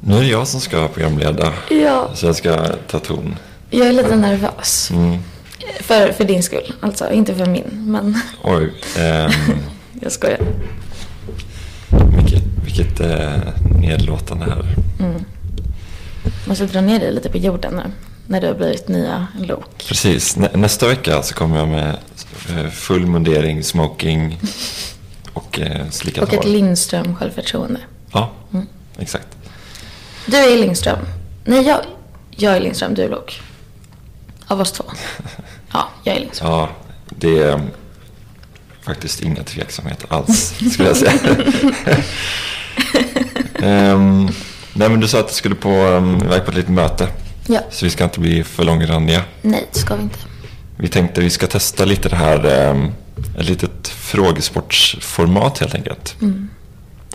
Nu är det jag som ska programleda. Ja, Så jag ska ta ton. Mm. jag är lite nervös. För, för din skull, alltså. Inte för min, men Oj, ehm, jag skojar. vilket, vilket eh, nedlåtande här. Mm. Måste dra ner dig lite på jorden nu. När du har blivit nya lok. Precis, nä, nästa vecka så kommer jag med eh, full mundering, smoking och eh, slickat Och ett Lindström självförtroende. Mm. Ja, exakt. Du är Lindström. Nej, jag, jag är Lindström, du är lok. Av oss två. Ja, jag är Lindström. Ja, det är mm, faktiskt inga tveksamheter alls, skulle jag säga. Ehm, nej, men du sa att du skulle på, um, iväg på ett litet möte. Ja. Så vi ska inte bli för långrandiga. Nej, det ska vi inte. Vi tänkte vi ska testa lite det här, um, ett litet frågesportsformat helt enkelt. Mm.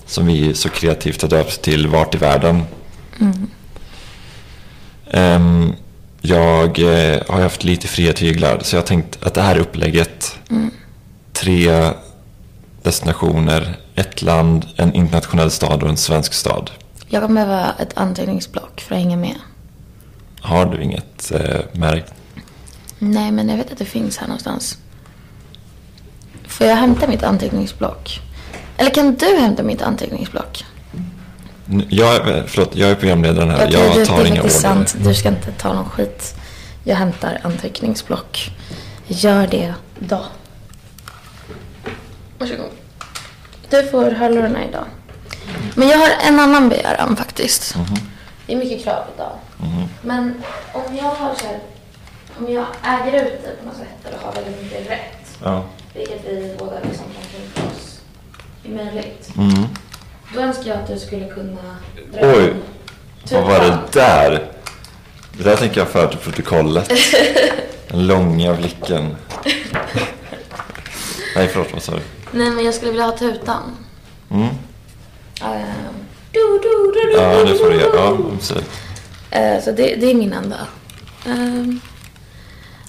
Som vi så kreativt har döpt till Vart i världen? Mm. Ehm, jag eh, har haft lite fria tyglar så jag tänkt att det här upplägget, Mm. tre destinationer, ett land, en internationell stad och en svensk stad. Jag kommer behöva ett anteckningsblock för att hänga med. Har du inget eh, märkt? Nej, men jag vet att det finns här någonstans. Får jag hämta mitt anteckningsblock? Eller kan du hämta mitt anteckningsblock? N- Jag, är- förlåt, jag är programledaren här. Okej, jag det, tar det är inga order. faktiskt sant. Du ska inte ta någon skit. Jag hämtar anteckningsblock. Gör det då. Varsågod. Du får hörlurarna idag. Men jag har en annan begäran faktiskt. Mhm. Det är mycket krav idag. Men om jag har så här, om jag äger ut det på något sätt eller har väldigt mycket rätt, Ja. vilket vi båda liksom kan tänka oss är möjligt, Mm. då önskar jag att du skulle kunna dra Oj, in Typ vad var det tutan. där? Det där tänker jag föra till protokollet. Den långa blicken. Nej, förlåt, vad sa du? Nej, men jag skulle vilja ha tutan. Mm. Ehm, du, du, du, du, Ja, du, det får du du, göra. du. Ja, absolut. Eh, Så det, det är min enda. ehm,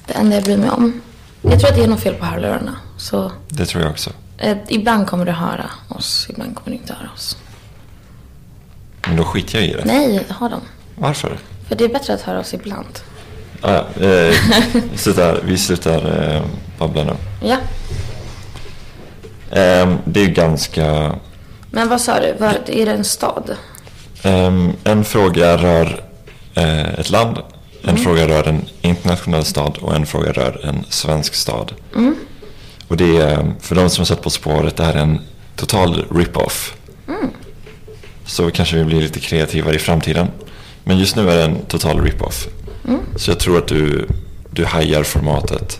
det enda jag bryr mig om. Jag tror att det är något fel på hörlurarna. Så Det tror jag också. eh, ibland kommer du höra oss, ibland kommer du inte höra oss. Men då skiter jag i det. Nej, ha dem. Varför? För det är bättre att höra oss ibland. Ah, ja, eh, vi slutar, vi slutar eh, babbla nu. Ja, Ehm, det är ju ganska... men vad sa du? Var, är det en stad? ehm, en fråga rör eh, ett land, en fråga rör en internationell stad och en fråga rör en svensk stad. Och det är, för de som har sett På spåret, det här är en total rip-off. Så kanske vi blir lite kreativare i framtiden. Men just nu är det en total rip-off. Så jag tror att du, du hajar formatet.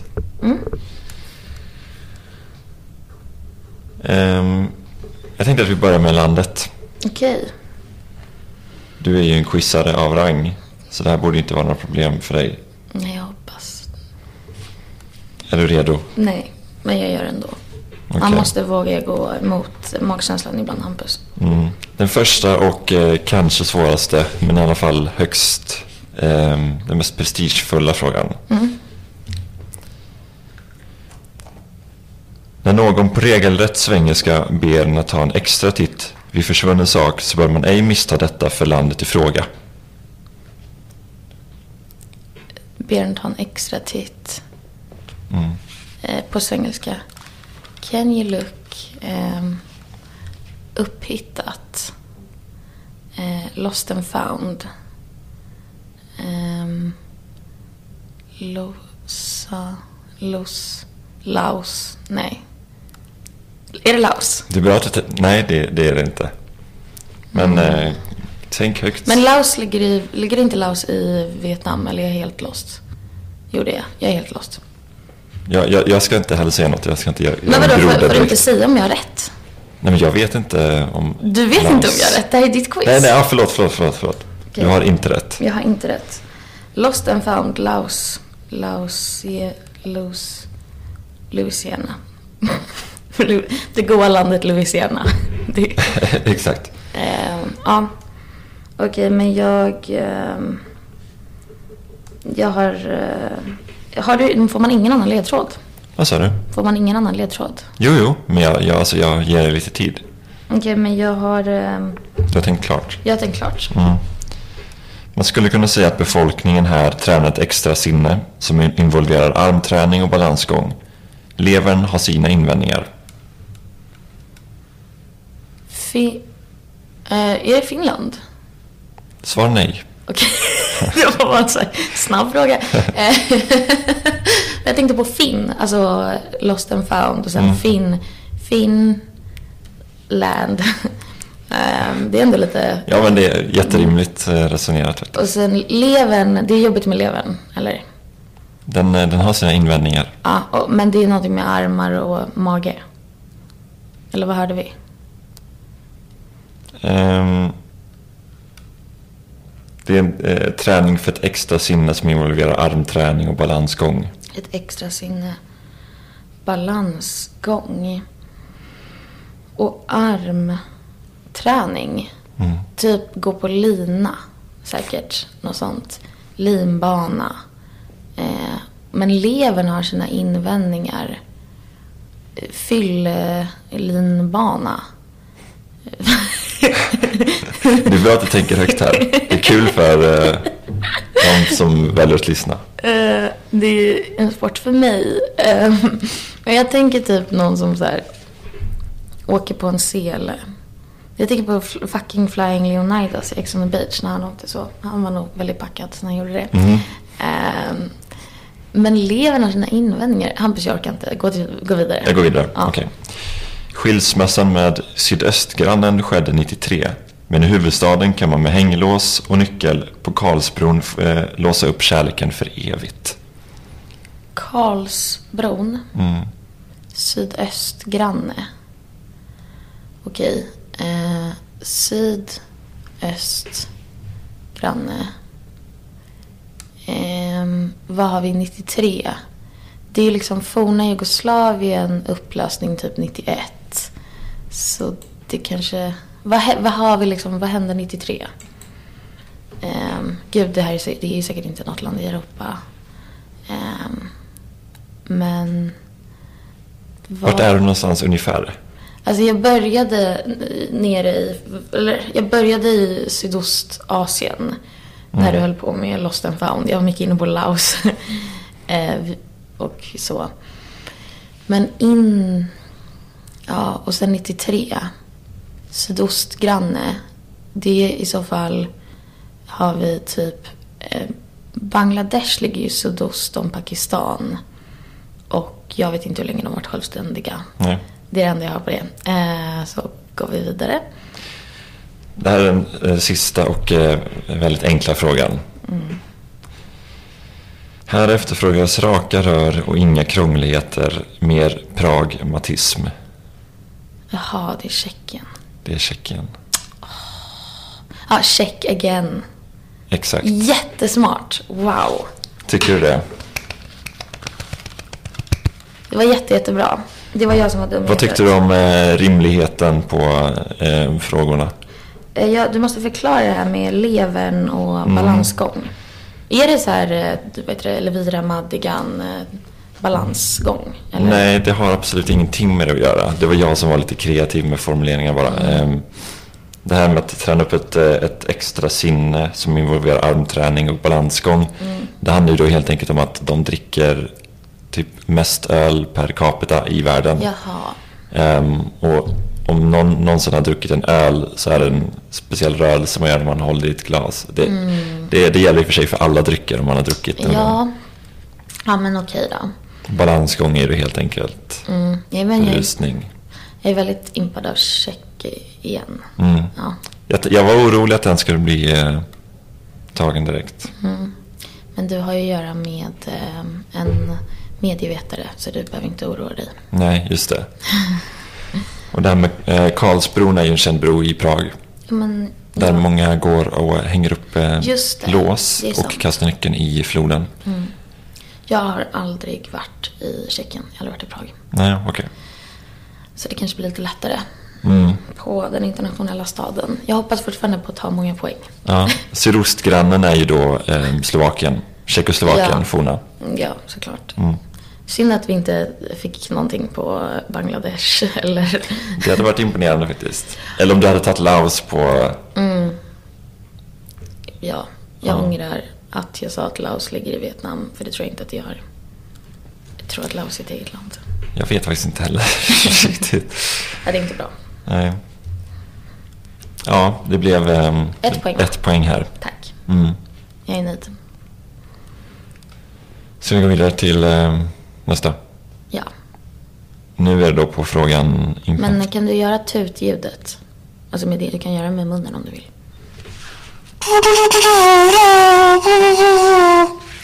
Ehm, jag tänkte att vi börjar med landet. Okej. Du är ju en quizare av rang. Så det här borde inte vara några problem för dig. Nej, jag hoppas. Är du redo? Nej, men jag gör det ändå. Man Okej. måste våga gå emot magkänslan ibland, Hampus. Mm. Den första och eh, kanske svåraste, men i alla fall högst, ehm, den mest prestigefulla frågan. Mm. När någon på regelrätt svengelska ber en att ta en extra titt vid försvunnen sak så bör man ej missta detta för landet i fråga. ber den ta en extra titt. Mm. Eh, på svengelska. Can you look? ehm, upphittat. Eh, lost and found. Um, losa, los, Laos. Nej. Är det Laos? Det är bra att du te- Nej, det, det är det inte. Men eh, tänk högt. Mm. Men Laos ligger i, ligger inte Laos i Vietnam eller är jag helt lost? Jo det är jag, jag är helt lost. Jag, jag, jag ska inte heller säga något. Jag ska inte göra Men jag vadå, får, groddar får du direkt. inte säga om jag har rätt? Nej, men jag vet inte om... Du vet Laos. inte om jag har rätt, det här är ditt quiz. Nej, nej, ja, förlåt, förlåt, förlåt. förlåt. Okej. Du har inte rätt. Jag har inte rätt. Lost and found, Laos, Laos, Laos, Louisiana. Lu- det goa landet Louisiana. Det, Exakt. ehm, ja. Okej, men jag... ehm, jag har... eh, har du, får man ingen annan ledtråd? Vad sa du? Får man ingen annan ledtråd? Jo, jo, men jag, jag, alltså, jag ger dig lite tid. Okej, men jag har... ehm, Du har tänkt klart. jag har tänkt klart. Mm. Man skulle kunna säga att befolkningen här tränar ett extra sinne som in- involverar armträning och balansgång. Levern har sina invändningar. Fi- eh, är det Finland? Svar nej. Okej, det var bara en sån här snabb fråga. Eh, jag tänkte på Finn, alltså Lost and found och sen Mm. Finn, Finn land. Eh, det är ändå lite... Ja, men det är jätterimligt eh, resonerat. faktiskt. Och sen levern, det är jobbigt med levern, eller? Den, eh, den har sina invändningar. Ja, och, men det är någonting med armar och mage. Eller vad hörde vi? Ehm, det är en eh, träning för ett extra sinne som involverar armträning och balansgång. Ett extra sinne. Balansgång. Och armträning. Mm. Typ gå på lina. Säkert något sånt. Linbana. Eh, men levern har sina invändningar. Fyll-linbana. Det är bra att du tänker högt här. Det är kul för eh, de som väljer att lyssna. Eh, det är en sport för mig. Eh, Men jag tänker typ någon som så här, åker på en sele. Jag tänker på fl- fucking Flying Leonidas i Ex on the Beach när han åkte så. Han var nog väldigt packad så han gjorde det. Mhm. Eh, Men levern har sina invändningar. Hampus, jag orkar inte. Gå, till, gå vidare. Jag går vidare. Ja. Okej. Skilsmässan med sydöstgrannen skedde 93. Men i huvudstaden kan man med hänglås och nyckel på Karlsbron eh, låsa upp kärleken för evigt. Karlsbron. Mm. Sydöstgranne. Okej. Eh, sydöstgranne. Ehm, vad har vi 93? Det är ju liksom forna Jugoslavien, upplösning typ 91. Så det kanske... Vad, hä- vad har vi liksom, vad hände 93? Ehm, gud, det här är, sä- det är ju säkert inte något land i Europa. Ehm, men... Vart vad- är du någonstans ungefär? Alltså jag började n- nere i, eller jag började i Sydostasien. När du höll på med Lost and found. Jag var mycket inne på Laos. eh, vi- och så. Men in, ja och sen 93. Sydostgranne. Det är i så fall har vi typ, eh, Bangladesh ligger ju sydost om Pakistan. Och jag vet inte hur länge de har varit självständiga. Nej. Det är det enda jag har på det. Eh, så går vi vidare. Det här är den eh, sista och eh, väldigt enkla frågan. Här efterfrågas raka rör och inga krångligheter, mer pragmatism. Jaha, det är Tjeckien. Det är Tjeckien. Ja, ah, check again. Exakt. Jättesmart. Wow. Tycker du det? Det var jätte, jättebra. Det var jag som var dum. Vad tyckte du om eh, rimligheten på eh, frågorna? Eh, ja, du måste förklara det här med levern och Mm. balansgång. Är det så här, eh, du vet det, Elvira Madigan eh, balansgång? Eller? Nej, det har absolut ingenting med det att göra. Det var jag som var lite kreativ med formuleringen bara. Mm. Ehm, Det här med att träna upp ett, eh, ett extra sinne som involverar armträning och balansgång. Mm. Det handlar ju då helt enkelt om att de dricker typ mest öl per capita i världen. Jaha. Ehm, och om någon någonsin har druckit en öl så är det en speciell rörelse man gör när man håller i ett glas. Det, det, det gäller i och för sig för alla drycker om man har druckit. den. Mm. Ja. Ja, men okej då. Balansgång är det helt enkelt. Mm. Ja, men jag, Belysning. jag är väldigt impad av Tjeckien. Mm. Ja. Jag, jag var orolig att den skulle bli eh, tagen direkt. Men du har ju att göra med eh, en medievetare så du behöver inte oroa dig. Nej, just det. Och det här med eh, Karlsbron är ju en känd bro i Prag. Men, Där många går och hänger upp eh, Just det, lås det är och sant. Mm. kastar nyckeln i floden. Jag har aldrig varit i Tjeckien, jag har aldrig varit i Prag. Nej, okej. Så det kanske blir lite lättare Mm. på den internationella staden. Jag hoppas fortfarande på att ta många poäng. Ja. Sydostgrannen är ju då eh, Slovakien, Tjeckoslovakien, Ja. forna. Ja, såklart. Mm. Synd att vi inte fick någonting på Bangladesh eller... Det hade varit imponerande faktiskt. Eller om du hade tagit Laos på... Mm. Ja, Jag Ja. ångrar att jag sa att Laos ligger i Vietnam, för det tror jag inte att det gör. Jag tror att Laos är ett eget land. Jag vet faktiskt inte heller riktigt. Ja, det är inte bra. Nej. Ja, det blev ehm, Ett poäng. ett poäng här. Tack. Mm. Jag är nöjd. Så vi går vidare till ehm, nästa. Ja. Nu är det då på frågan inkomst. Men kan du göra tutljudet? Alltså med det du kan göra med munnen om du vill.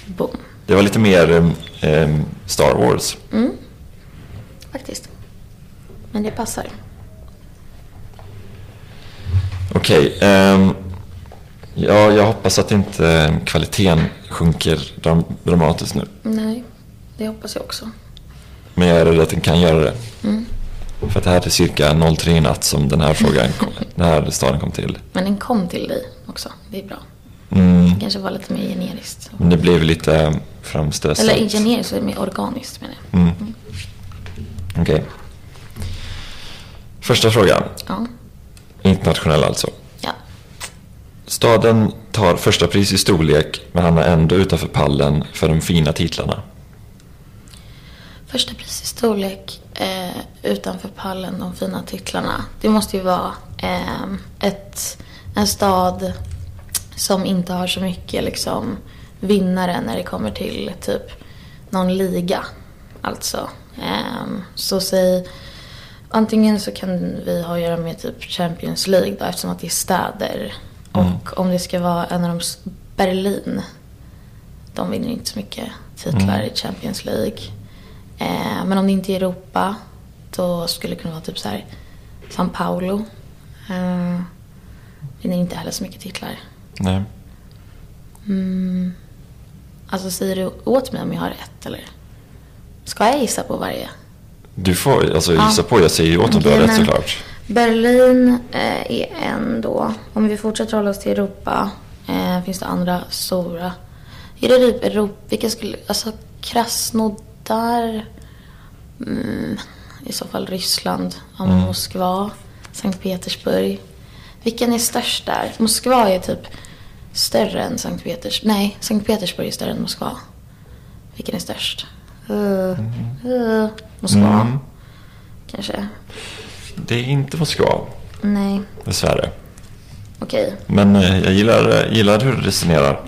Boom. Det var lite mer ehm, ehm, Star Wars. Mm. Faktiskt. Men det passar. Okej. ehm, ja, jag hoppas att inte ehm, kvaliteten sjunker dram- dramatiskt nu. Nej, det hoppas jag också. Men jag är rädd att den kan göra det. Mm. För att det här är cirka 03 i natt som den här frågan kom, den här staden kom till. Men den kom till dig också. Det är bra. Mm, Det kanske var lite mer generiskt. men det blev lite ehm, framstressat. Eller inte generiskt, utan mer organiskt menar jag. Mm. Okej. Första frågan. Ja. Internationell alltså. ja. Staden tar första pris i storlek men hamnar ändå utanför pallen för de fina titlarna. Första pris i storlek eh, utanför pallen, de fina titlarna. Det måste ju vara eh, ett, en stad som inte har så mycket liksom, vinnare när det kommer till typ någon liga. Alltså, ehm, så säg antingen så kan vi ha att göra med typ Champions League då, eftersom att det är städer. Och om det ska vara en av de, s- Berlin, de vinner inte så mycket titlar Mm. i Champions League. Eh, men om det inte är Europa då skulle det kunna vara typ så här São Paulo. Eh, vinner inte heller så mycket titlar. Nej. Alltså säger du åt mig om jag har rätt eller? Ska jag gissa på varje? Du får alltså, Ja. gissa på. Jag säger ju åt om du har Okej, rätt men såklart. Berlin eh, är en då. Om vi fortsätter hålla oss till Europa eh, finns det andra stora. Är det typ Europa, vilka skulle, alltså Krasnodar. Mm, I så fall Ryssland, ja, Mm. men Moskva, Sankt Petersburg. Vilken är störst där? Moskva är typ större än Sankt Petersburg. Nej, Sankt Petersburg är större än Moskva. Vilken är störst? Uh, uh, Moskva, Mm. kanske. Det är inte Moskva, Nej, dessvärre. okej. Mm. Men eh, jag gillar, gillar hur du resonerar.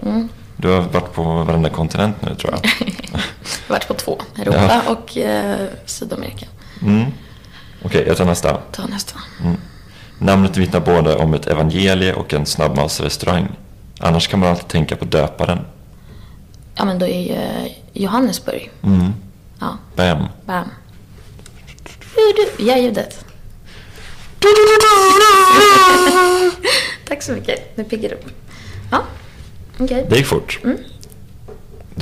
Du har varit på varenda kontinent nu tror jag. Jag har varit på två. Europa och eh, Sydamerika. Mm. Okej, jag tar nästa. Ta nästa. Namnet vittnar både om ett evangelie och en snabbmatsrestaurang. Annars kan man alltid tänka på döparen. Ja, men då är ju eh, Johannesburg. Mm. Ja, Bam. bam. Du, du, Ja, ljudet. Tack så mycket. Nu piggar det upp. Ja, okej. Det gick fort. Du,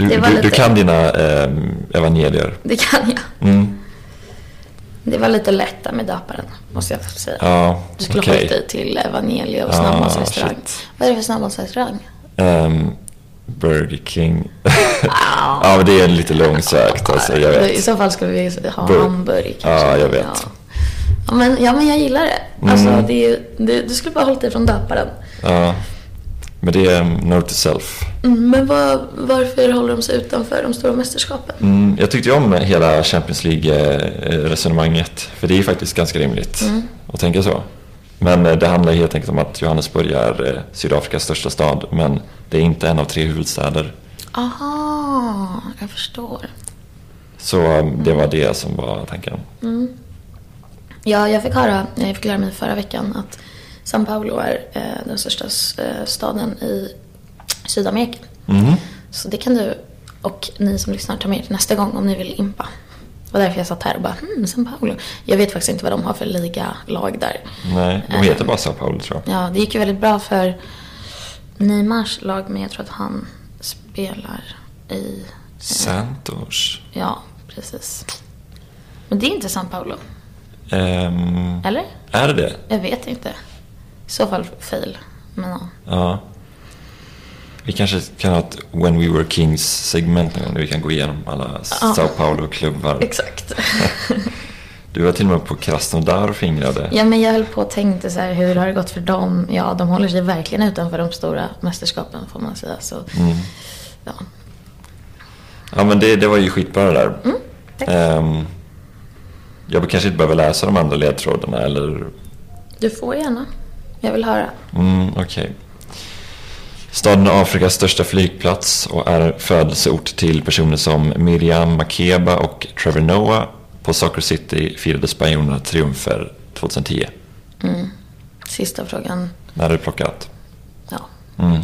Mm. Det var du, du lite- kan dina eh, evangelier. Det kan jag. Mm. Det var lite lätt där med döparen, måste jag säga. Ja, Du skulle ha okej. hållit dig till Evangelia och Ah, snabbmatsrestaurang. shit. Vad är det för snabbmatsrestaurang? Ehm, Burger King. ja, men det är lite långsökt alltså, jag I vet. så fall skulle vi ha Burg. Hamburg kanske. Ja, jag vet. Ja. Ja, men, ja, men jag gillar det. Alltså, Mm. det är, ju- du, du skulle bara hållit dig från döparen. Ja. Men det är um, note to self. Mm, Men vad, varför håller de sig utanför de stora mästerskapen? Mm, jag tyckte ju om hela Champions League-resonemanget. För det är ju faktiskt ganska rimligt att tänka så. Men eh, det handlar helt enkelt om att Johannesburg är eh, Sydafrikas största stad. Men det är inte en av tre huvudstäder. Aha, jag förstår. Så eh, det var det som var tanken. Ja, jag fick höra, jag fick lära mig förra veckan att São Paulo är eh, den största s- eh, staden i Sydamerika. Mhm. Så det kan du och ni som lyssnar ta med er till nästa gång om ni vill impa. Det var därför jag satt här och bara, hmm, São Paulo. Jag vet faktiskt inte vad de har för ligalag där. Nej, de Eh, heter bara Sao Paulo tror jag. Ja, det gick ju väldigt bra för Neymars lag, men jag tror att han spelar i... Santos. Ja, precis. Men det är inte São Paulo, Ehm, eller? är det det? Jag vet inte. I så fall fail. Men ja. Ja. Vi kanske kan ha ett When We Were Kings-segment någon gång där vi kan gå igenom alla Ja. Sao Paulo-klubbar. Exakt. Du var till och med på Krasnodar och fingrade. Ja, men jag höll på och tänkte så här, hur har det gått för dem? Ja, de håller sig verkligen utanför de stora mästerskapen får man säga. Så, Mm. ja. Ja, men det, det var ju skitbra det där. Mm, tack. Ehm, jag kanske inte behöver läsa de andra ledtrådarna eller... Du får gärna. Jag vill höra. Mm, okej. Staden är Afrikas största flygplats och är födelseort till personer som Miriam Makeba och Trevor Noah. På Soccer City firade spanjorerna triumfer 2010. Sista frågan. När du plockat? Ja, Mm.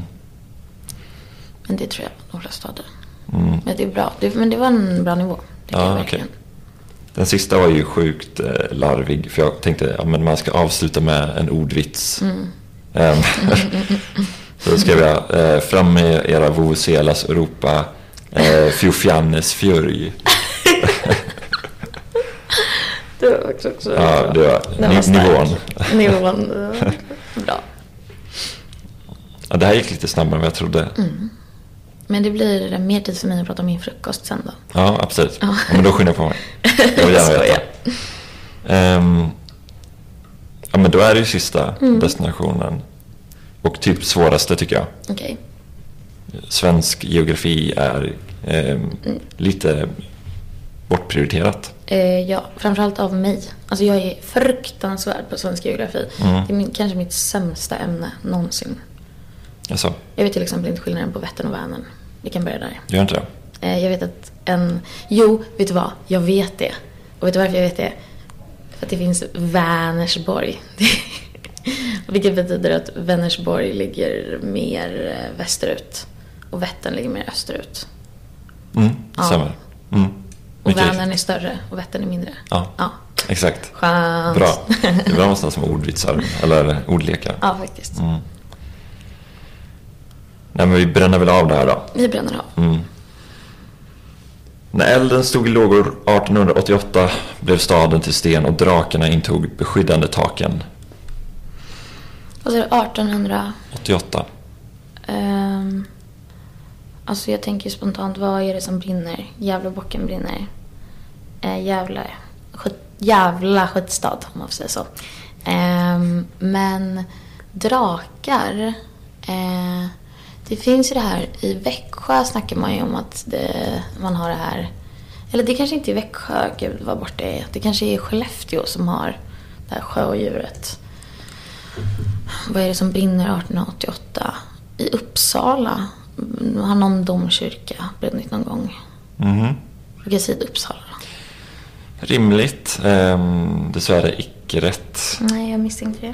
men det tror jag några stader. mm. Men det är bra. Det, men det var en bra nivå. Det kan Ja, jag okej. verkligen. Den sista var ju sjukt eh, larvig för jag tänkte att ja, men man ska avsluta med en ordvits. Mm. Ehm, Så skrev jag eh, fram med era vuvuzelas Europa, eh, fjofjannes fjörj. Det var också, också Ja, det var, Den ni- nivån. stark. Nivån. eh, bra. Ja, det här gick lite snabbare än vad jag trodde. Mm. Men det blir mer tid för mig att prata om min frukost sen då. Ja, absolut. Ja. Ja. Men då skyndar jag på mig. Jag vill gärna veta. Skojar. Ehm, ja, men då är det ju sista Mm. destinationen. Och typ svåraste tycker jag. Okej. Svensk geografi är ehm, lite bortprioriterat. Eh, ja, framförallt av mig. Alltså jag är fruktansvärd på svensk geografi. Mm. Det är min, kanske mitt sämsta ämne någonsin. Alltså, Jag vet till exempel inte skillnaden på Vättern och Vänern. Vi kan börja där. gör inte det? Eh, jag vet att en... Jo, vet du vad? Jag vet det. Och vet du varför jag vet det? För att det finns Vänersborg. Vilket betyder att Vänersborg ligger mer eh, västerut. Och Vättern ligger mer österut. Mm, Ja. stämmer. Mm. Och Mycket Vänern riktigt. är större och Vättern är mindre. Ja. ja. Exakt. Skönt. Bra. Det är bra någonstans med ordvitsar, eller ordlekar. Ja, faktiskt. Mm. Nej, men vi bränner väl av det här då. Vi bränner av. Mm. När elden stod i lågor 1888 blev staden till sten och drakarna intog beskyddande taken. Och så är det 1800... 88. ehm, alltså jag tänker spontant, vad är det som brinner? Gävlebocken brinner. Eh, Gävle... skit- Jävla skitstad, om man får säga så. Ehm, men drakar... eh, det finns ju det här, i Växjö snackar man ju om att det, man har det här... Eller det kanske inte är Växjö, gud vad bort det är. Det kanske är Skellefteå som har det här sjöodjuret. Vad är det som brinner 1888? I Uppsala mm, har någon domkyrka brunnit någon gång. Mhm. Vilken sida Uppsala då? Rimligt. Ehm, dessvärre icke rätt. Nej, jag misstänkte det.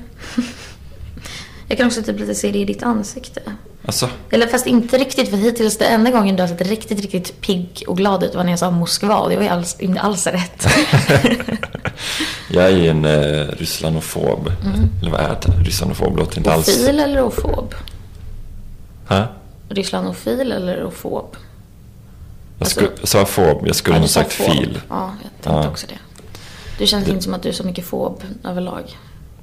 jag kan också typ lite se det i ditt ansikte. Alltså, Eller fast inte riktigt, för hittills den enda gången du har sett riktigt, riktigt pigg och glad ut var när jag sa Moskva och det var ju alls, inte alls rätt. jag är ju en eh, rysslandofob. Mm. Eller vad är det? Rysslandofob låter inte alls... Ofil eller ofob? Ha? Rysslandofil eller ofob? Jag, sku- jag sa fob, jag skulle Alltså- Ja, ha du sa sagt fob. fil. Ja, jag tänkte Ja. också det. Du känns inte som att du är så mycket fob överlag.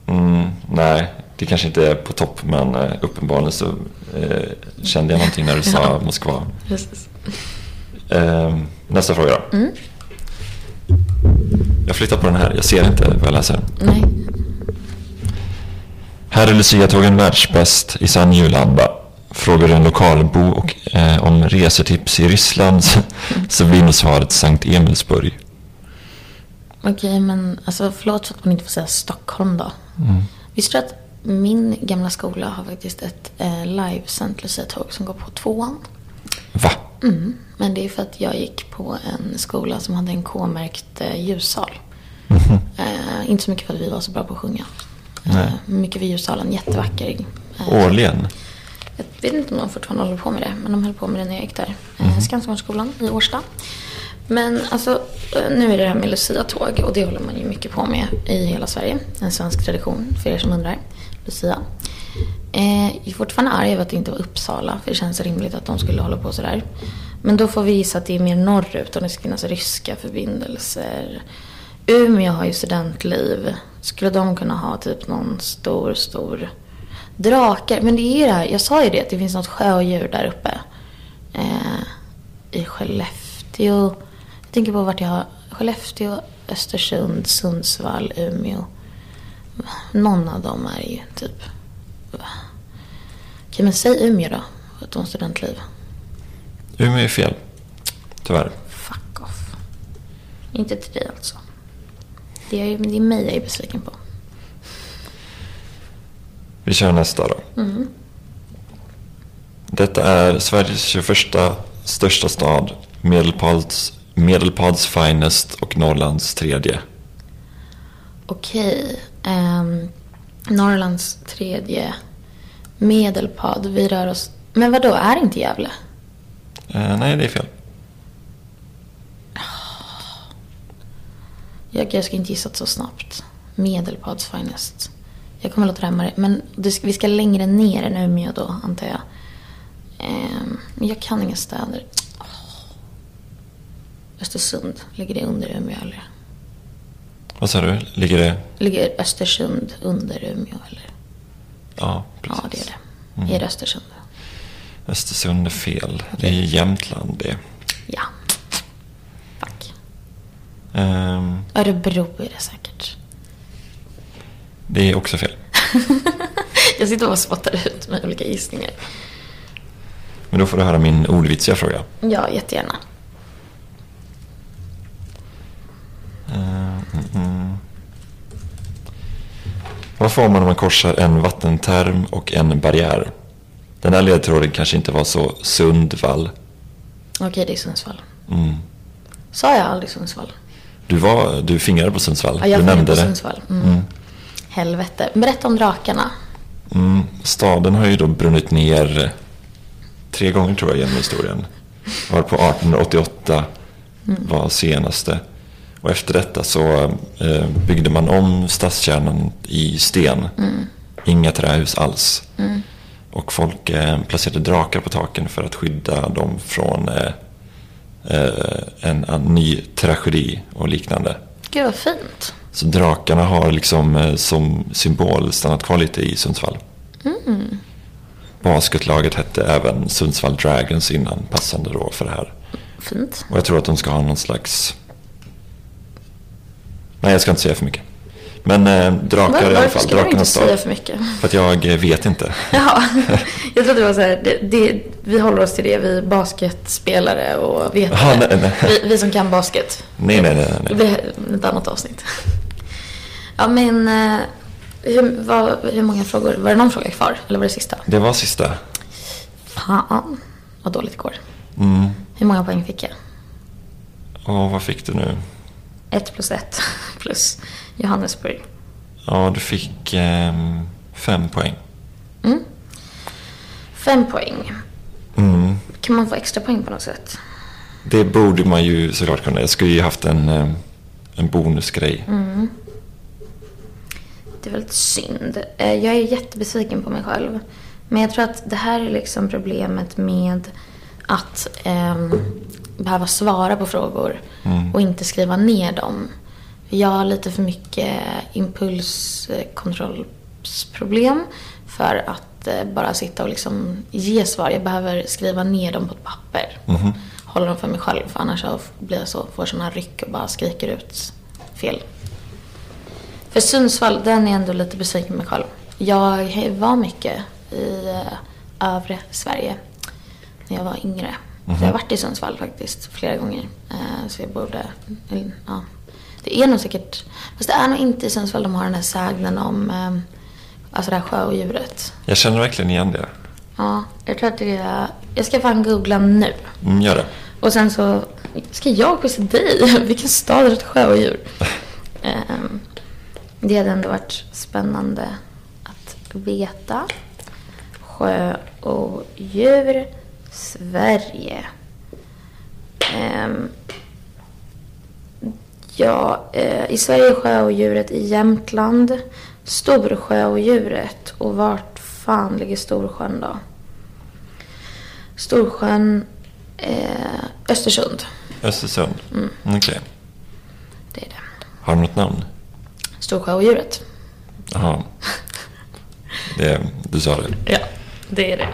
Mm, nej, det kanske inte är på topp men eh, uppenbarligen så eh, kände jag någonting när du sa Ja. Moskva. Precis. Ehm, nästa fråga Mm. då. Jag flyttar på den här, jag ser inte vad jag läser. Nej. Här är Lucia-tågen världsbäst i sann julanda. Frågar du en lokalbo och, eh, om resetips i Ryssland så- så blir nog svaret Sankt Emilsburg. Okej, men alltså, förlåt för att man inte får säga Stockholm då. Mm. Visste du att min gamla skola har faktiskt ett eh, livesänt luciatåg som går på tvåan? Va? Mm. Men det är för att jag gick på en skola som hade en K-märkt eh, ljussal. Eh, inte så mycket för att vi var så bra på att sjunga. Mhm. Nej. Eh, mycket för ljussalen, jättevacker. Eh, Årligen? Jag vet inte om de fortfarande håller på med det, men de höll på med det när jag gick där. Eh, Skansgårdsskolan i Årsta. Men alltså, eh, nu är det det här med Lucia-tåg och det håller man ju mycket på med i hela Sverige. En svensk tradition, för er som undrar. Lucia. Eh, jag är fortfarande arg över att det inte var Uppsala, för det känns rimligt att de skulle hålla på sådär. Men då får vi gissa att det är mer norrut, om det ska finnas ryska förbindelser. Umeå har ju studentliv. Skulle de kunna ha typ någon stor, stor Drakar, men det är ju det här. Jag sa ju det, att det finns något sjödjur där uppe. Eh, I Skellefteå. Jag tänker på vart jag har... Skellefteå, Östersund, Sundsvall, Umeå. Någon av dem är ju typ... Okej, men säg Umeå då, för att de har studentliv. Umeå är fel. Tyvärr. Fuck off. Inte till dig alltså. Det är, det är mig jag är besviken på. Vi kör nästa då. Mm. Detta är Sveriges 21 största stad, Medelpads, Medelpads finest och Norrlands tredje. Okej. ehm, Norrlands tredje medelpad. Vi rör oss... Men vad då är inte Gävle? Eh, nej, det är fel. Jag, jag ska inte gissa så snabbt. Medelpads finest. Jag kommer låta det här med det. Men du, ska- vi ska längre ner än Umeå då, antar jag. Ehm, Men jag kan inga städer. Åh. Östersund, ligger det under Umeå eller? Vad sa du? Ligger det... Ligger Östersund under Umeå eller? Ja, precis. Ja, det är det. Är det Östersund? Östersund är fel. Det är Jämtland det. Ja. Fuck. Ehm, Örebro är det säkert. det är också fel. Jag sitter och bara spottar ut med olika gissningar. Men då får du höra min ordvitsiga fråga. Ja, jättegärna. Eh, mm, mm. Vad får man om man korsar en vattenterm och en barriär? Den här ledtråden kanske inte var så Sundvall. Okej, det är Sundsvall. Mm. Sa jag aldrig Sundsvall? Du, var, du fingrade på Sundsvall. Ja, jag du var inne nämnde på det. Sundsvall. Mm. Helvete. Berätta om drakarna. Mm. Staden har ju då brunnit ner tre gånger tror jag genom historien. Var på 1888 var senaste. Och efter detta så eh, byggde man om stadskärnan i sten. Inga trähus alls. Och folk eh, placerade drakar på taken för att skydda dem från eh, eh, en, en ny tragedi och liknande. Gud vad fint. Så drakarna har liksom eh, som symbol stannat kvar lite i Sundsvall. Mm. Basketlaget hette även Sundsvall Dragons innan, passande då för det här. Fint. Och jag tror att de ska ha någon slags... Nej, jag ska inte säga för mycket. Men eh, drakar i alla varför fall. ska man inte Drakarnas säga stad. för mycket? För att jag eh, vet inte. Ja, jag trodde det var så här, det, det, vi håller oss till det, vi är basketspelare och vetare. Jaha, nej, nej. Vi, vi som kan basket. Nej, nej, nej. nej, Det nej. blir ett annat avsnitt. Ja, men eh, hur, vad, hur många frågor? Var det någon fråga kvar? Eller var det sista? Det var sista. Fan, vad dåligt det går. Mm. Hur många poäng fick jag? Och vad fick du nu? Ett plus ett plus Johannesburg. Ja, du fick ehm, fem poäng. Fem poäng. Mm. Kan man få extra poäng på något sätt? Det borde man ju såklart kunna. Jag skulle ju haft en, eh, en bonusgrej. Det är väldigt synd. Eh, Jag är jättebesviken på mig själv. Men jag tror att det här är liksom problemet med att ehm, behöva svara på frågor och inte skriva ner dem. Jag har lite för mycket impulskontrollsproblem för att eh, bara sitta och liksom ge svar. Jag behöver skriva ner dem på ett papper. Mm. Mhm. Hålla dem för mig själv, för annars så blir jag så, får jag såna ryck och bara skriker ut fel. För Sundsvall, den är ändå lite besviken med själv. Jag var mycket i eh, övre Sverige när jag var yngre. Jag har varit i Sundsvall faktiskt flera gånger. Eh, Så jag borde... eller, Ja. Det är nog säkert... Fast det är nog inte i Sundsvall de har den här sägnen om eh, alltså det här sjöodjuret. Jag känner verkligen igen det. Ja, jag tror att det är... Jag ska fan googla nu. Mm, gör det. Och sen så ska jag quizza dig. Vilken stad har ett sjöodjur? Ehm, det hade ändå varit spännande att veta. Sjöodjur, Sverige. Ehm, ja, eh, i Sverige är sjöodjuret i Jämtland. Storsjöodjuret. Och vart fan ligger Storsjön då? Storsjön, eh, Östersund. Östersund. Okej. Det är det. Har du något namn? Storsjöodjuret. Jaha. Det, du sa det. Ja, det är det.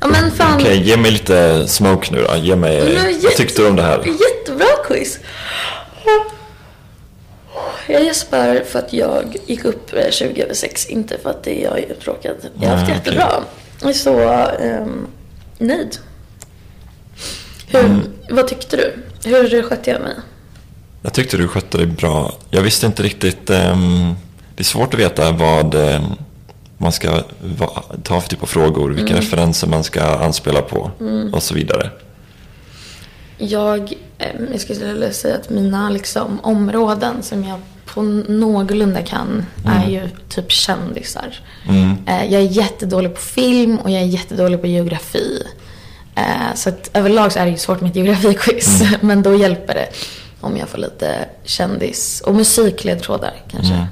Ja men fan. Okej, ge mig lite smoke nu då. Ge mig... det var Vad tyckte du om det här? jätte- Jättebra quiz. Jag gäspar för att jag gick upp eh, 20 över 6, inte för att det är jag är uttråkad. Jag har haft Nej, okej. jättebra. Jag är så ehm, nöjd. Hur, Mm. Vad tyckte du? Hur skötte jag mig? Jag tyckte du skötte dig bra. Jag visste inte riktigt... ehm, det är svårt att veta vad ehm, man ska va, ta för typ av frågor, vilka referenser man ska anspela på och så vidare. Jag, ehm, jag skulle vilja säga att mina liksom, områden som jag på någorlunda kan är ju typ kändisar. Mm. Eh, jag är jättedålig på film och jag är jättedålig på geografi. Eh, så att överlag så är det ju svårt med ett geografiquiz. Men då hjälper det om jag får lite kändis och musikledtrådar kanske.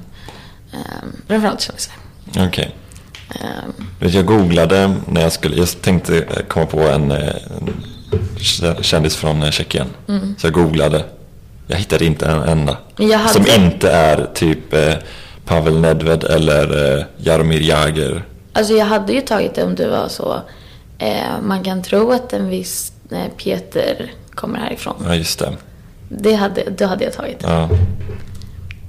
Ehm, framförallt kändisar. Okej. Ehm, Vet, Jag googlade när jag skulle, jag tänkte eh, komma på en, eh, en k- kändis från eh, Tjeckien. Så jag googlade. Jag hittade inte en enda. Mm. Men jag hade- Som inte är typ eh, Pavel Nedved eller eh, Jaromir Jagr. Alltså jag hade ju tagit det om du var så. Eh, man kan tro att en viss eh, Peter kommer härifrån. Ja, just det. Det hade, då hade jag tagit det. Ja,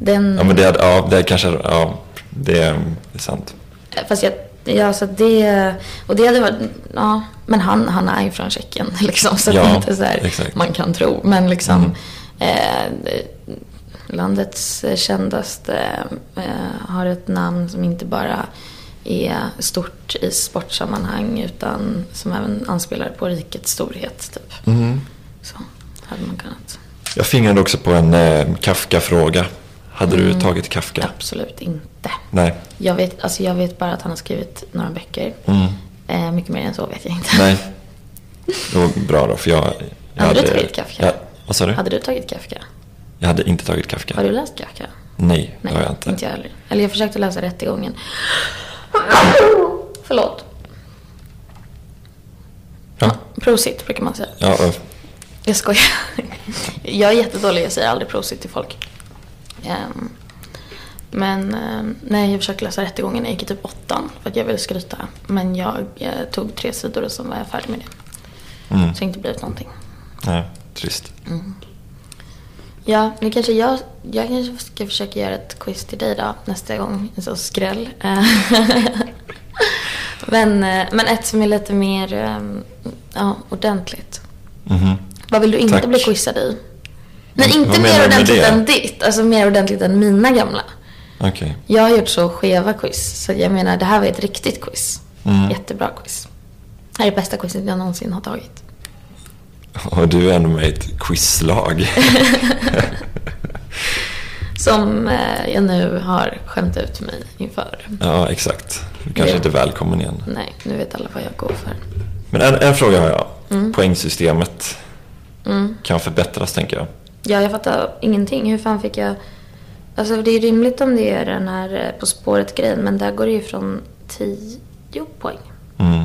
Den, ja men det, hade- ja, det kanske, ja, det är sant. eh, Fast jag, ja, så att det, och det hade varit, ja, men han, han är ju från Tjeckien liksom. Så att Ja, det är inte så här, exakt. Mm. man kan tro. Men liksom, eh, landets eh, kändaste eh, har ett namn som inte bara är stort i sportsammanhang utan som även anspelar på rikets storhet. Typ. Så hade man kunnat. Jag fingrade också på en eh, Kafka-fråga. Hade Mm. du tagit Kafka? Absolut inte. Nej. Jag vet, alltså jag vet bara att han har skrivit några böcker. Mm. Eh, mycket mer än så vet jag inte. Nej. Det var bra då, för jag... jag Hade du tagit Kafka? Ja, vad sa du? Hade du tagit Kafka? Jag hade inte tagit Kafka. Har du läst Kafka? Nej, det har jag inte. jag heller. Eller jag försökte läsa Rättegången. Förlåt. Ja, Prosit brukar man säga. ja, ja. Jag skojar. Jag är jättedålig, jag säger aldrig prosit till folk. Ehm, men ehm, nej, jag försökte läsa Rättegången, jag gick i typ åttan för att jag ville skryta. Men jag eh, tog tre sidor och sen var jag färdig med det. Mm. Så det har inte blivit någonting. Nej, trist. Ja, nu kanske jag, jag kanske ska försöka göra ett quiz till dig då nästa gång. En sån skräll. Eh, men, eh, men ett som är lite mer eh, ja, ordentligt. Mhm. Vad vill du inte Tack. bli quizad i? Nej, Vad menar du inte mer med ordentligt det? än ditt. Alltså mer ordentligt än mina gamla. Okej. Jag har gjort så skeva quiz. Så jag menar, det här var ett riktigt quiz. Mm. Jättebra quiz. Det här är det bästa quizet jag någonsin har tagit. Och du är ändå med i ett quizlag. Som eh, jag nu har skämt ut mig inför. ja, exakt. Du kanske Ja. inte är välkommen igen. Nej, nu vet alla vad jag går för. Men en, en fråga har jag. Poängsystemet kan förbättras, tänker jag. Mm. Ja, jag fattar ingenting. Hur fan fick jag... Alltså det är rimligt om det är den här eh, På spåret-grejen, men där går det ju från 10 poäng. Mm.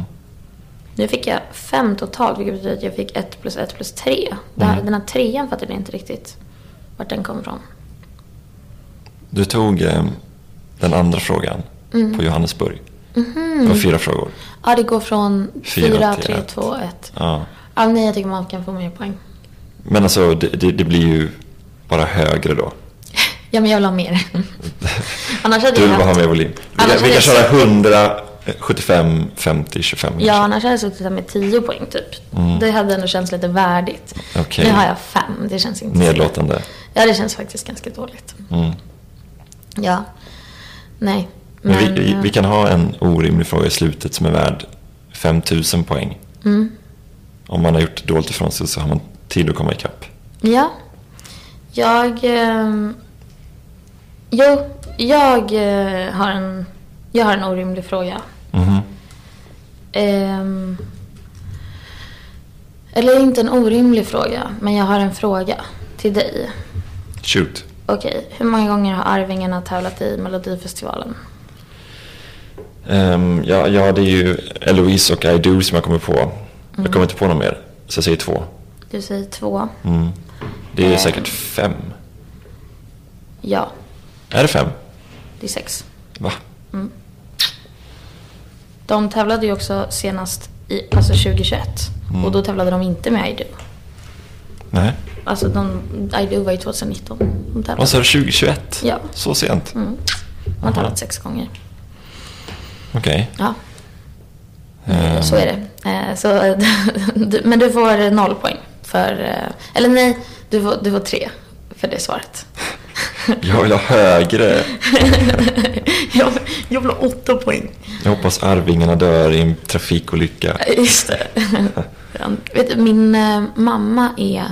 Nu fick jag fem totalt, vilket betyder att jag fick 1 plus 1 plus 3. Det här, Mm. Den här trean fattade jag inte riktigt vart den kom från. Du tog eh, den andra frågan på Johannesburg. Det var fyra frågor. Ja, det går från Fyra 4, till 3, ett. 2, 1. Ja. Ja, nej, jag tycker man kan få mer poäng. Men alltså, det, det, det blir ju bara högre då. Ja, men jag vill ha mer. Annars hade Du jag vill bara ha haft- mer volym. Vi kan, Annars vi hade kan jag köra suttit- 100, eh, 75, 50, 25 Ja, kanske. annars hade jag suttit här med 10 poäng typ. Det hade ändå känts lite värdigt. Mm. Okej. Nu har jag fem, det känns inte så- Nedlåtande. Ja, det känns faktiskt ganska dåligt. Mm. Ja. Nej. Men vi, vi, eh, vi kan ha en orimlig fråga i slutet som är värd 5000 poäng. Mm. Om man har gjort dåligt ifrån sig så har man tid att komma ikapp. Ja. Jag... ehm, Jo, jag eh, har en, jag har en orimlig fråga. Mhm. Ehm, Eller inte en orimlig fråga, men jag har en fråga till dig. Shoot. Okej, hur många gånger har Arvingarna tävlat i Melodifestivalen? Ehm, ja, ja, det är ju Eloise och I Do som jag kommer på. Mm. Jag kommer inte på någon mer, så jag säger två. Du säger två. Mm. Det är Ehm. säkert fem. Ja, Är det fem? det är sex. Va? De tävlade ju också senast i, alltså 2021. Och då tävlade de inte med Idu. Nej. alltså de, Idol var ju 2019. De tävlade. Vad sa du, 2021? Ja. Så sent? Mm. De har Aha. tävlat sex gånger. Okej. Ja, Ehm, så är det. Eh, Så, du- men du får noll poäng för... eh, Eller nej, du får, du får tre för det svaret. Jag vill ha högre. jag, jag vill ha åtta poäng. Jag hoppas Arvingarna dör i en trafikolycka. Ja, Just det. Ja, Vet du, min eh, mamma är...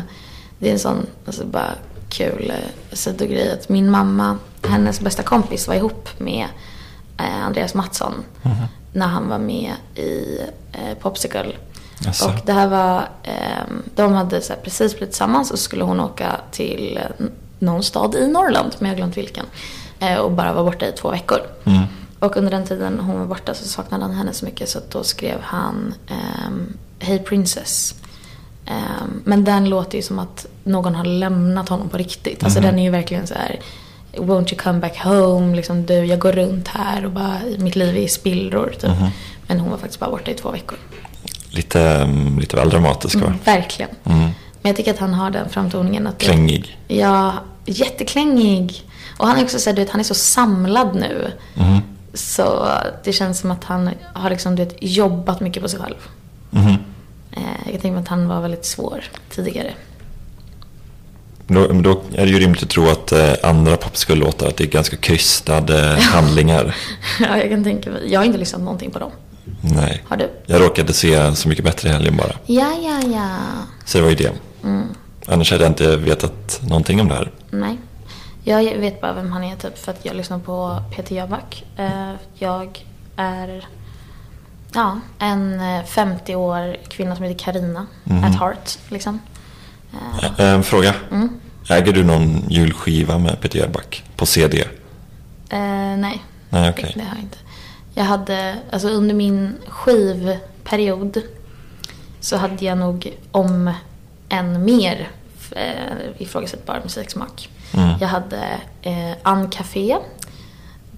Det är en sån alltså, bara kul eh, sidogrej. Att min mamma, hennes bästa kompis var ihop med eh, Andreas Mattsson när han var med i eh, Popsicle. Jaså. Och det här var... ehm, de hade så här, precis blivit tillsammans och skulle hon åka till eh, någon stad i Norrland, men jag har glömt vilken. Eh, och bara vara borta i två veckor. Och under den tiden hon var borta så saknade han henne så mycket så att då skrev han ehm, Hey Princess. Ehm, men den låter ju som att någon har lämnat honom på riktigt. Alltså den är ju verkligen så här Won't you come back home? Liksom, du, jag går runt här och bara, mitt liv är i spillror. Typ. Men hon var faktiskt bara borta i två veckor. Lite, mm, lite väl dramatisk va? Verkligen. Mm. Men jag tycker att han har den framtoningen. Att det- Klängig. Ja, jätteklängig. Och han är också så här, du vet, han är så samlad nu. mm, Så det känns som att han har liksom, du vet, jobbat mycket på sig själv. Mhm. Eh, jag tänker mig att han var väldigt svår tidigare. Då, men då är det ju rimligt att tro att eh, andra Popsicle-låtar att det är ganska krystade handlingar. ja, jag kan tänka mig. Jag har inte lyssnat någonting på dem. Nej. Har du? Jag råkade se Så mycket bättre i helgen bara. Ja, ja, ja. Så det var ju det. Annars hade jag inte vetat någonting om det här. Mm, Nej. Jag vet bara vem han är typ för att jag lyssnar på Peter Jöback. Eh, Jag är ja, en eh, 50 år kvinna som heter Karina at heart. Liksom. Eh, mm. Ä- En fråga. Äger du någon julskiva med Peter Jöback på CD? eh, nej, Nej, okej. det har jag inte. Jag hade, alltså under min skivperiod så hade jag nog om än mer eh, ifrågasättbar musiksmak. Mm. Jag hade eh, Ann Café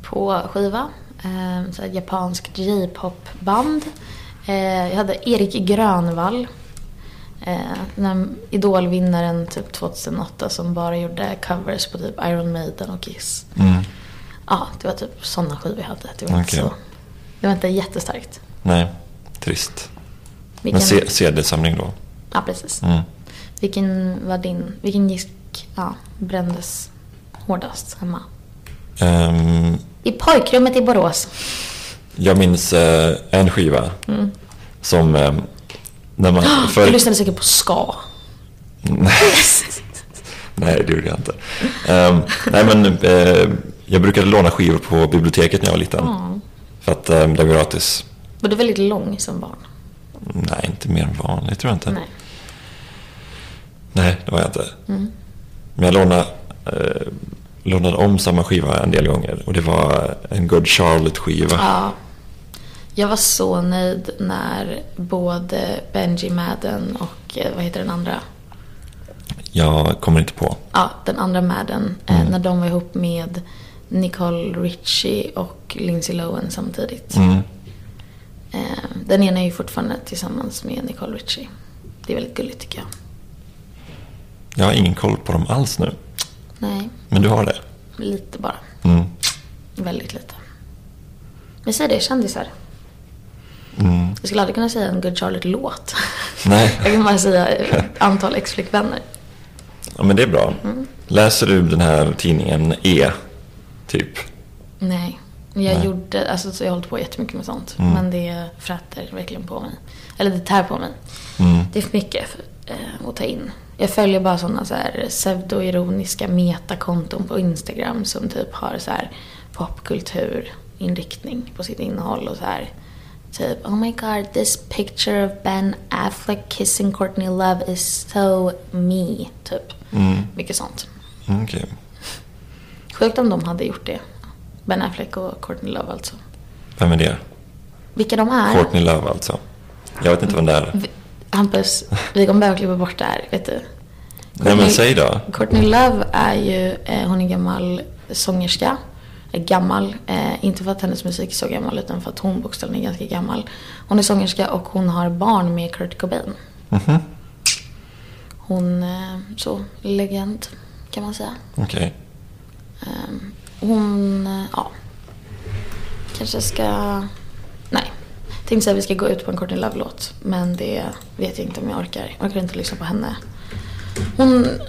på skiva. Eh, så här japanskt J-pop-band. Eh, jag hade Erik Grönvall. Eh, den här Idolvinnaren typ 2008 som bara gjorde covers på typ Iron Maiden och Kiss. Mm. Ja, det var typ sådana skivor jag hade. Det var, inte Okej. så, det var inte jättestarkt. Nej, trist. Vilken, Men C- CD-samling då? ja, precis. Mm. Vilken var din, vilken gick, ja, brändes hårdast hemma? Ehm, I pojkrummet i Borås. jag minns eh, en skiva som... ehm, när man, Du för, lyssnade säkert på ska. nej, det gjorde jag inte. Ehm, nej, men eh, jag brukade låna skivor på biblioteket när jag var liten. Ja. För att ehm, det var gratis. Var du väldigt lång som barn? Nej, inte mer än vanligt tror jag inte. Nej. Nej, det var jag inte. Mm. Men jag lånade, eh, lånade om samma skiva en del gånger. Och det var en Good Charlotte-skiva. Ja. Jag var så nöjd när både Benji Madden och eh, vad heter den andra? Jag kommer inte på. Ja, den andra Madden. eh, Mm. När de var ihop med Nicole Richie och Lindsay Lohan samtidigt. Mm. Eh, Den ena är ju fortfarande tillsammans med Nicole Richie. Det är väldigt gulligt tycker jag. Jag har ingen koll på dem alls nu. Nej, Men du har det? lite bara. Mm. Väldigt lite. Men säg det, kändisar. Mm. Jag skulle aldrig kunna säga en Good Charlotte-låt. Nej. Jag kan bara säga eh, antal ex-flickvänner. Ja, men det är bra. Läser du den här tidningen E? Typ. Nej. Jag Nej. Mm. gjorde, alltså så jag har hållit på jättemycket med sånt. Men det fräter verkligen på mig. Eller det tär på mig. Det är för mycket eh, att ta in. Jag följer bara sådana så här pseudoironiska metakonton på Instagram som typ har så här popkulturinriktning på sitt innehåll och så här typ oh my god this picture of Ben Affleck kissing Courtney Love is so me typ. Mycket sånt. Mm, Okej. Sjukt om de hade gjort det. Ben Affleck och Courtney Love alltså. Vem är det? Vilka de är? Courtney Love alltså. Jag vet inte vem det är. Vi- Hampus, vi kommer behöva klippa bort det här, vet du. Nej men säg då. Courtney Love är ju, eh, hon är gammal sångerska. Eh, Gammal, eh, inte för att hennes musik är så gammal utan för att hon bokstavligen är ganska Mhm. gammal. Hon är sångerska och hon har barn med Kurt Cobain. Hon, eh, så, legend kan man säga. Okej. Ehm, Hon, eh, ja. Kanske ska... Nej. Tänkte säga att vi ska gå ut på en Courtney Love-låt. Men det vet jag inte om jag orkar. Jag orkar inte lyssna på henne. Hon är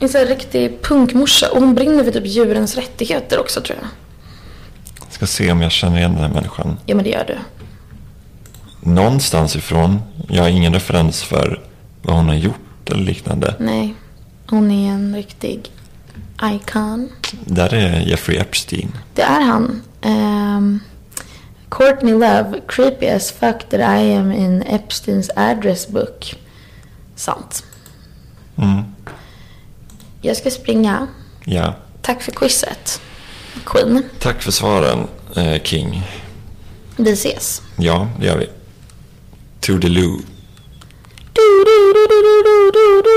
en sån här riktig punkmorsa. Och hon brinner för typ djurens rättigheter också tror jag. Ska se om jag känner igen den här människan. Ja men det gör du. Någonstans ifrån. Jag har ingen referens för vad hon har gjort eller liknande. Nej. Hon är en riktig icon. Där är Jeffrey Epstein. Det är han. Ehm, Courtney Love, creepy as fuck that I am in Epsteins address book. Sant. Mm. Jag ska springa. Ja. Tack för quizet, Queen. Tack för svaren, eh, King. Vi ses. Ja, det gör vi. Toodiloo. Du, du, du, du, du, du, du, du.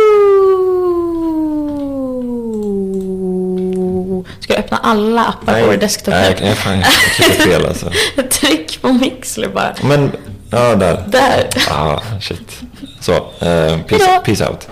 Ska jag öppna alla appar på vår desktop nej, jag, jag, fan, jag klickade fel alltså. Tryck på mixler bara. Men, ja, där. Där. Ah, shit. Så, eh, Hejdå. peace, peace out.